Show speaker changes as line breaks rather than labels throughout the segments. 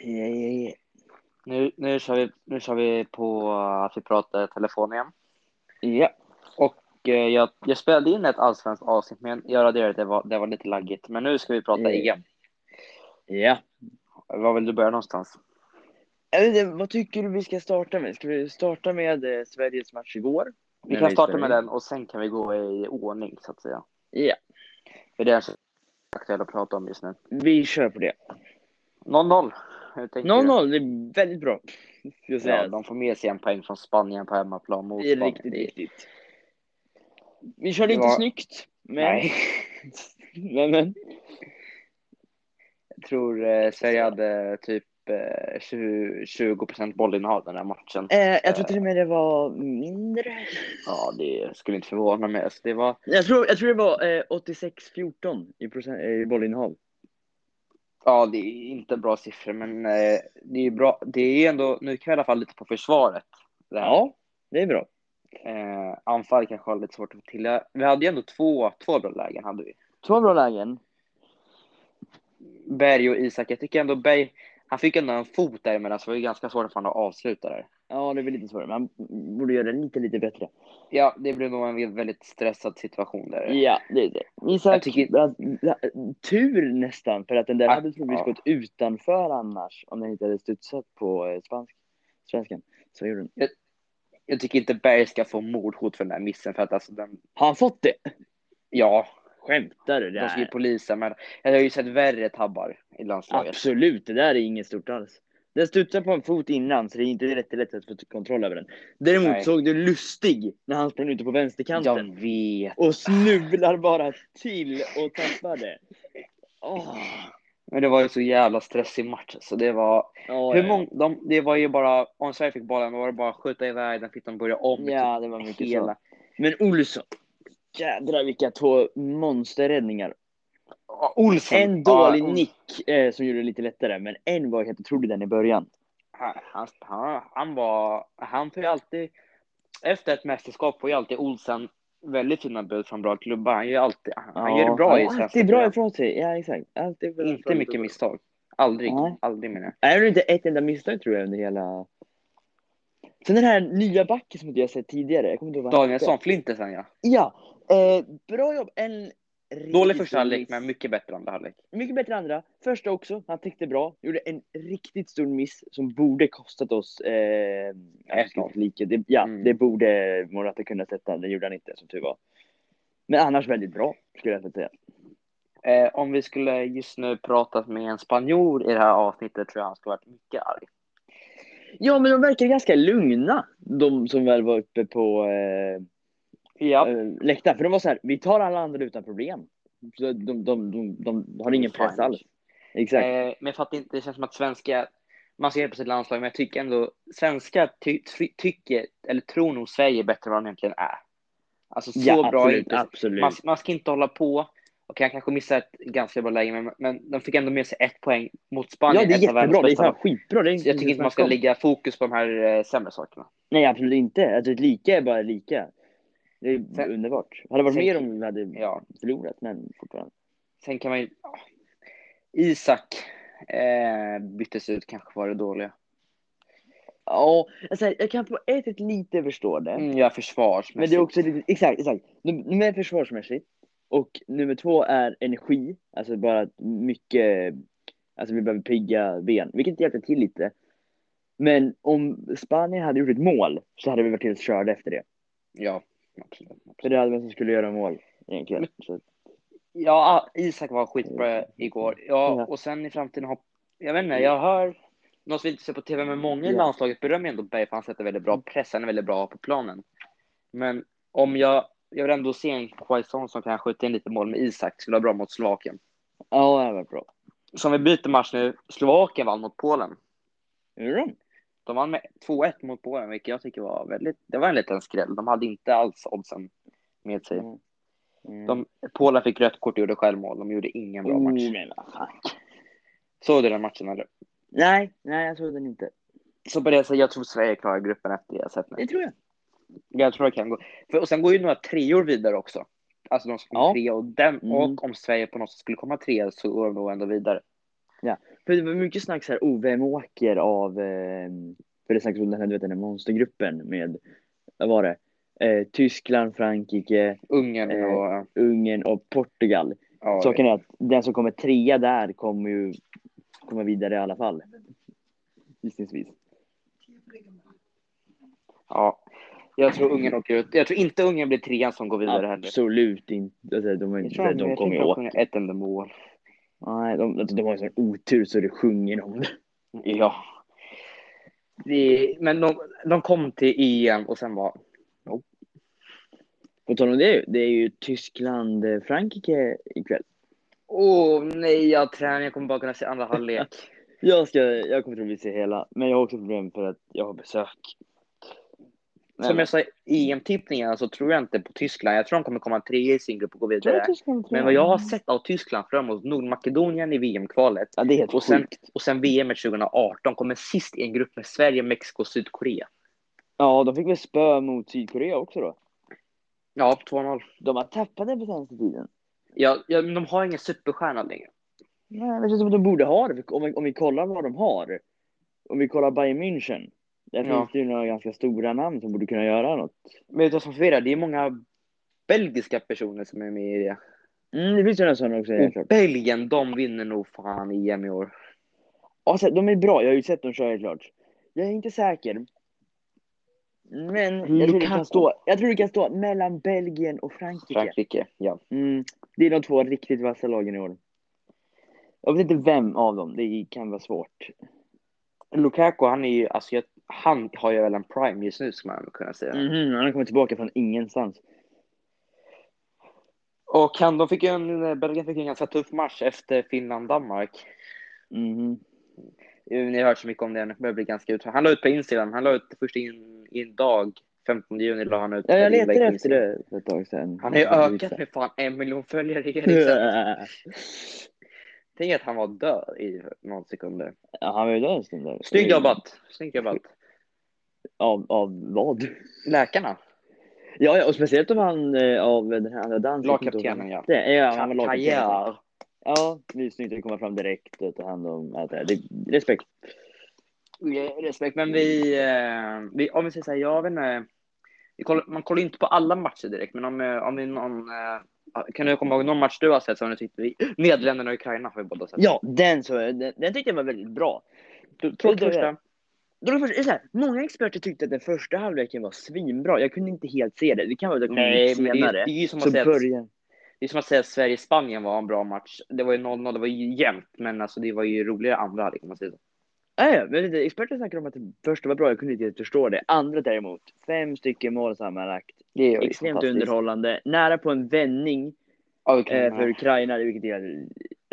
Yeah, yeah, yeah.
Nu, nu, kör vi, nu kör vi på att vi pratar telefon igen.
Ja,
Och, eh, Jag, jag spelade in ett allsvenskt avsnitt, men jag raderade det, det var, det var lite laggigt. Men nu ska vi prata
Mm.
igen.
ja.
Var vill du börja någonstans?
Jag vet inte, Äh, eh, vad tycker du vi ska starta med? Ska vi starta med eh, Sveriges match igår?
Vi
Nej,
kan
vi
starta
spelar
med
in.
den och sen kan vi gå i ordning så att säga.
Ja,
För det är så aktuellt att prata om just nu.
vi kör på det.
0-0. Hur tänker du?
0-0, det är väldigt bra. Ska jag säga.
Ja, de får med sig en poäng från Spanien på hemmaplan mot
det är
Spanien.
riktigt, riktigt. Vi körde
Det
inte
var-
snyggt, men...
Nej.
men, men.
Jag tror eh, Sverige hade typ eh, 20, 20% bollinnehav den här matchen.
Eh, jag tror till och med det var mindre.
Ja, det skulle inte förvåna mig. Så det var,
Jag tror, jag tror det var eh, 86-14 i, procent, eh, i bollinnehav.
ja, det är inte bra siffror, men eh, det är ju bra. Det är ändå, nu kan vi i alla fall lite på försvaret. Det här.
Ja, det är bra.
Eh, anfall kanske har lite svårt att få till. Vi hade ju ändå två, två bra lägen. Hade vi.
Två bra lägen.
Berg och Isak. Jag tycker ändå Berg, han fick ändå en fot där emellan, så det var ju ganska svårt för honom att avsluta där.
Ja, det är väl lite svårare. Man borde göra det lite, lite bättre.
Ja, det blev nog en väldigt stressad situation där.
Ja, det är det. Isak,
Jag tycker-
att- tur nästan, för att den där
Ah,
hade troligtvis
ja.
gått utanför annars om den inte hade studsat på eh, spansk, svenskan. Så gjorde den.
Jag tycker inte Berg ska få mordhot för den där missen, för att alltså den,
Har han fått det?
ja,
Skämtar du? Det
de ska ju
här?
polisa, men jag har ju sett värre tabbar i landslaget.
Absolut, det där är inget stort alls. Den studsar på en fot innan, så det är inte rätt lätt att få kontroll över den. Däremot
Nej.
såg du Lustig när han sprang ute på vänsterkanten.
Jag vet.
Och snubblar bara till och tappar det. Åh.
Men det var ju så jävla stressig match, så det var
Ja,
Hur
ja,
många, de, det var ju bara, om Sverige fick bollen då var det bara att skjuta iväg den, fick de börja om. liksom.
Ja, det var mycket
hela.
Men Olsson. Jädrar vilka två monsterräddningar.
Ja, Olsson.
En dålig
Ja, Olsson.
nick eh, som gjorde det lite lättare, men en var helt otrolig den i början.
Han, han, han, han var, han får ju alltid, efter ett mästerskap får ju alltid Olsen väldigt fina bud från bra klubbar. Han gör alltid, han, han gör det bra i svenska
Alltid bra
klubbar.
ifrån sig. Ja, exakt. Alltid bra
Inte
ifrån sig.
mycket misstag. Aldrig,
Nej.
aldrig menar jag.
Nej, det är inte ett enda misstag tror jag under hela... Sen den här nya backen som inte jag sett tidigare. Jag kommer inte ihåg vad han hette.
Danielsson, Flintersen ja.
Ja. Eh, bra jobb. En
Dålig
riktig
första halvlek,
miss.
men mycket bättre andra halvlek.
Mycket bättre än andra. Första också. Han täckte bra. Gjorde en riktigt stor miss som borde kostat oss... Eh, ja,
1-0.
lika. Det, ja,
Mm.
det borde Morata kunna sätta. Det gjorde han inte, som tur var. Men annars väldigt bra, skulle jag säga.
Eh, om vi skulle just nu pratat med en spanjor i det här avsnittet tror jag han skulle varit mycket arg.
Ja, men de verkar ganska lugna, de som väl var uppe på eh,
Ja.
eh, läktaren. För de var så här, vi tar alla andra utan problem. Så De, de, de, de har ingen
Fine.
press alls. Exakt.
Eh, men jag fattar inte, det känns som att svenska, man ser det på sitt landslag, men jag tycker ändå svenska ty, ty, tycker, eller tror nog Sverige är bättre än vad de egentligen är. Alltså så
ja,
bra är
absolut.
inte.
absolut.
Man, man ska inte hålla på, och kan kanske missa ett ganska bra läge, men, men de fick ändå med sig ett poäng mot Spanien.
ja, det är
ett av världens
jättebra. Det är
bästa
fan
lag.
skitbra. Det är
Jag tycker inte man ska lägga fokus på de här eh, sämre sakerna.
Nej, absolut inte. Alltså, ett lika är bara ett lika. Det är
Sen-
underbart. Hade varit
sen-
mer om vi hade
Ja.
förlorat, men fortfarande.
Sen kan man ju... ja. Isak eh, byttes ut, kanske var det dåliga.
Ja, alltså, jag kan på ett sätt lite förstå det.
Mm, ja, försvarsmässigt.
Men det är också lite, exakt, exakt. Num- Nummer ett försvarsmässigt. Och nummer två är energi. Alltså bara att mycket, alltså vi behöver pigga ben. Vilket hjälpte till lite. Men om Spanien hade gjort ett mål så hade vi varit helt körda efter det.
Ja, absolut.
För det hade vem som skulle göra mål egentligen. Så,
Ja, Isak var skitbra igår. Ja,
Ja.
och sen i framtiden har... Jag vet inte, jag hör... Något vi inte ser på TV, men många i
Ja. Mm.
landslaget berömmer ändå Berg för han sätter väldigt bra press. Han är väldigt bra på planen. Men om jag... Jag vill ändå se en Quaison som kan skjuta in lite mål med Isak. Skulle vara bra mot Slovakien.
ja, det hade varit bra.
Så om vi byter match nu. Slovakien vann mot Polen.
Gjorde de?
De vann med 2-1 mot Polen, vilket jag tycker var väldigt... Det var en liten skräll. De hade inte alls oddsen med sig.
Mm.
De- Polen fick rött kort och gjorde självmål. De gjorde ingen bra
Oh,
match.
men vad fan.
Såg du den matchen, eller?
Nej, nej jag såg den inte.
Så på det sättet, jag tror Sverige klarar gruppen efter det jag sett nu.
Det tror jag.
Jag tror det kan gå. För, och sen går ju några treor vidare också. Alltså de som kom
Ja.
trea och, den,
Mm.
och om Sverige på något sätt skulle komma trea så går de nog ändå vidare.
För det var mycket snack så här, oh, vem åker av... Eh, för det snackas om den här, du vet, den här monstergruppen med, vad var det? Eh, Tyskland, Frankrike,
Ungern
Eh,
och...
Ungern och Portugal.
Ja,
Saken är att den som kommer trea där kommer ju komma vidare i alla fall. Gissningsvis.
ja. Jag tror Ungern åker ut. Jag tror inte Ungern blir trean som går vidare heller.
Absolut inte. Alltså, de, är
Jag
inte
tror
de,
att- jag
kommer ju
tänkte att
åka.
Ungern är ett enda mål.
Nej, de, de, de har ju sån otur så det sjunger om det.
Ja. Det, men de, de kom till EM och sen var...
På tal om det, det är ju Tyskland-Frankrike ikväll.
Åh nej, jag tränar. Jag kommer bara kunna se andra halvlek.
Jag, ska, jag kommer troligtvis se hela, men jag har också problem för att jag har besök.
Som jag sa i EM-tippningen så tror jag inte på Tyskland. Jag tror de kommer komma trea i sin grupp och gå vidare. Men vad jag har sett av Tyskland för de mot Nordmakedonien i VM-kvalet
Ja, det är helt
och sen,
sjukt.
och sen VM 2018 kommer sist i en grupp med Sverige, Mexiko och Sydkorea.
Ja, de fick väl spö mot Sydkorea också då.
Ja, 2-0.
De har tappat det på senaste tiden.
Ja, ja, men de har ingen superstjärna längre.
Nej, men det känns som att de borde ha det. för Om vi, om vi kollar vad de har. Om vi kollar Bayern München. Där
Ja.
finns det ju några ganska stora namn som borde kunna göra något.
Men vet du vad som förvirrar? Det är många belgiska personer som är med i det.
Mm, det finns ju några sådana också. helt
Och
klart.
Belgien, de vinner nog fan EM i år.
Alltså, de är bra. Jag har ju sett dem köra helt klart. Jag är inte säker. Men jag tror, det
Lukaku.
kan stå, jag tror det kan stå mellan Belgien och Frankrike.
Frankrike, ja.
Mm, det är de två riktigt vassa lagen i år. Jag vet inte vem av dem. Det kan vara svårt.
Lukaku, han är ju, alltså jag, han har ju väl en prime just nu skulle man kunna säga.
Mhm, han har kommit tillbaka från ingenstans.
Och han, de fick ju en, eh, Belgien fick ju en ganska tuff match efter Finland-Danmark.
Mhm.
Eh, Ni har hört så mycket om det, nu börjar bli ganska ut. Han la ut på Instagram, han la ut först in, i en dag, 15 juni la han ut.
Ja, jag
en inlägg på
letade efter
Instagram.
det för ett tag sedan.
Han har ju ökat liksom. med fan en miljon följare i Eriksen. Tänk att han var död i några sekunder.
Ja, han var ju där en stund där.
Snyggt jobbat! Snyggt jobbat.
Av, av vad?
Läkarna.
Ja, ja, och speciellt om han eh, av den här andra dansen.
Lagkaptenen, ja.
Det, ja, han var lagkapten.
Karriär.
Ja, det är snyggt att komma fram direkt och ta hand om allt det här. Det, respekt.
Ja, Respekt, men vi, eh, vi om vi säger så här, jag vet inte, vi kollar, man kollar ju inte på alla matcher direkt, men om, eh, om vi någon, eh, kan du komma ihåg någon match du har sett som du tyckte vi, Nederländerna och Ukraina har vi båda sett.
Ja, den, så, den, den tyckte jag var väldigt bra.
Trots första,
Då var det först, det är så här, många experter tyckte att den första halvleken var svinbra. Jag kunde inte helt se det. Det kan vara att jag kommer
nej, men Mm, det, är- det
senare.
är ju som
Så
att säga, att-
början.
det är som att säga att Sverige-Spanien var en bra match. Det var ju 0-0, det var ju jämnt, men alltså det var ju roligare andra halvlek om man säger så.
Ja, ja, men det- experter snackade om att det första var bra, jag kunde inte helt förstå det. Andra däremot, fem stycken mål sammanlagt.
Det är
Extremt underhållande, nära på en vändning
Ja, vi
eh,
kan-
för Ukraina, vilket är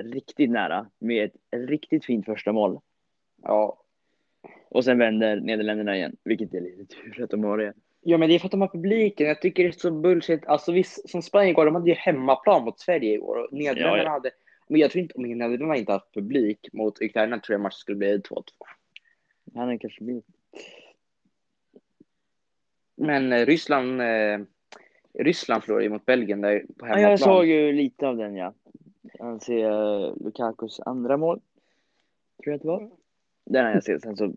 riktigt nära, med ett riktigt fint första mål.
ja.
Och sen vänder Nederländerna igen, vilket är lite tur att de har det.
Ja men det är för att de har publiken. Jag tycker det är så bullshit. Alltså visst, som Spanien igår, de hade ju hemmaplan mot Sverige igår. Och Nederländerna
Ja, ja.
hade... Men jag tror inte, om Nederländerna inte haft publik mot Ukraina tror jag matchen skulle bli 2-2.
Han är kanske blivit...
Men eh, Ryssland, eh, Ryssland förlorade ju mot Belgien där på
Ja,
hemmaplan.
jag såg ju lite av den ja. Han ser eh, Lukakus andra mål. Tror jag att det var. Den har jag sett, sen så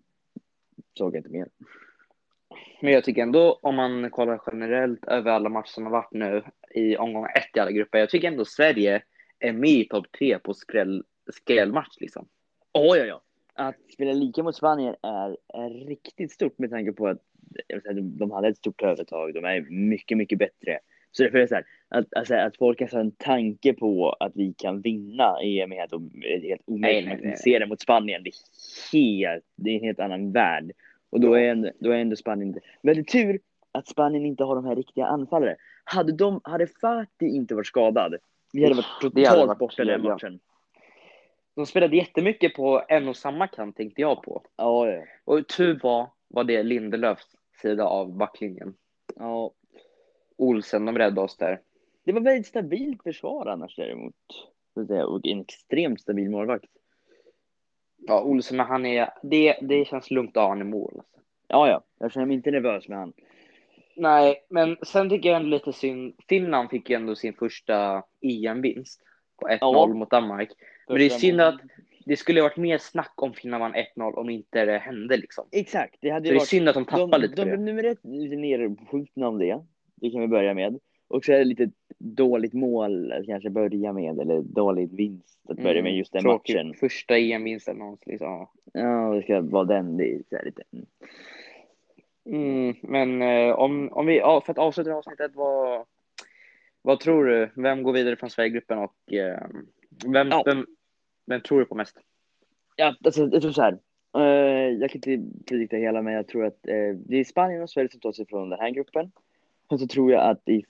såg jag inte mer.
Men jag tycker ändå, om man kollar generellt över alla matcher som har varit nu i omgång ett i alla grupper, jag tycker ändå Sverige är med i topp tre på skräll, skrällmatch liksom.
Oh, ja, ja. Att spela lika mot Spanien är, är riktigt stort med tanke på att jag vill säga, de, de hade ett stort övertag. De är mycket, mycket bättre. Så därför är det så här, att, alltså, att folk har så en tanke på att vi kan vinna EM är helt, om- är helt
Nej,
omöjligt.
nej,
Man
nej.
kan se det mot Spanien. Det är, helt, det är en helt annan värld. Och då är, ändå, då är ändå Spanien inte... Men det är tur att Spanien inte har de här riktiga anfallare. Hade, de, hade Fati inte varit skadad, vi hade varit
Det hade
totalt
varit
borta den
jävla-
matchen.
De spelade jättemycket på en och samma kant tänkte jag på.
Ja, ja.
Och tur var, var det Lindelöfs sida av backlinjen.
ja.
Olsen, de räddade oss där.
Det var väldigt stabilt försvar annars däremot. Så att säga, Och en extremt stabil målvakt.
Ja, Olsen, men han är... Det, det känns lugnt att ha han i mål. Alltså.
Ja, ja. Jag känner mig inte nervös med han.
Nej, men sen tycker jag ändå lite synd. Finland fick ju ändå sin första EM-vinst på 1-0
Ja.
mot Danmark. Men det är synd att det skulle ha varit mer snack om Finland vann 1-0 om inte det hände liksom.
Exakt, det hade
Så
ju
det är
varit...
synd att de tappar
de,
lite
de
på
blev
det.
nummer ett lite nerskjutna om det. Det kan vi börja med. Och så är det lite dåligt mål att kanske börja med, eller dålig vinst att börja med
Mm,
just den
tråkigt.
matchen.
Första EM-vinsten någonsin. Liksom. ja.
Ja, det ska vara den. Det är så här lite... mm.
Mm, men eh, om, om vi, ja, för att avsluta det här avsnittet, vad, vad tror du? Vem går vidare från Sverigegruppen och eh, vem,
Ja.
vem, vem tror du på mest?
Ja, alltså, jag tror så här. Eh, jag kan inte predikta hela, men jag tror att eh, det är Spanien och Sverige som tar sig från den här gruppen. Och så tror jag att i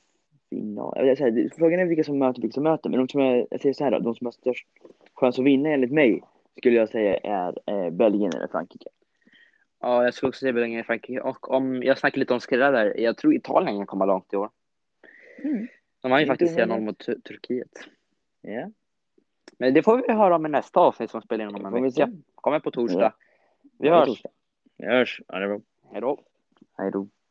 final... Jag vill säga, det- frågan är vilka som möter vilka som möter, men de som är, jag säger så här då, de som har störst chans att vinna enligt mig skulle jag säga är eh, Belgien eller Frankrike.
Ja, jag skulle också säga Belgien och Frankrike. Och om jag snackar lite om skrällar där, jag tror Italien kan komma långt i år.
Mm.
De vann ju
Inte
faktiskt 1-0
omöjligt.
mot Tur- Turkiet.
Ja,
Men det får vi höra om i nästa avsnitt som spelar in om en
får vi se.
vecka. Kommer på torsdag.
Ja.
Vi hörs.
Vi hörs. Ha det bra.
Hej då.
Hej då.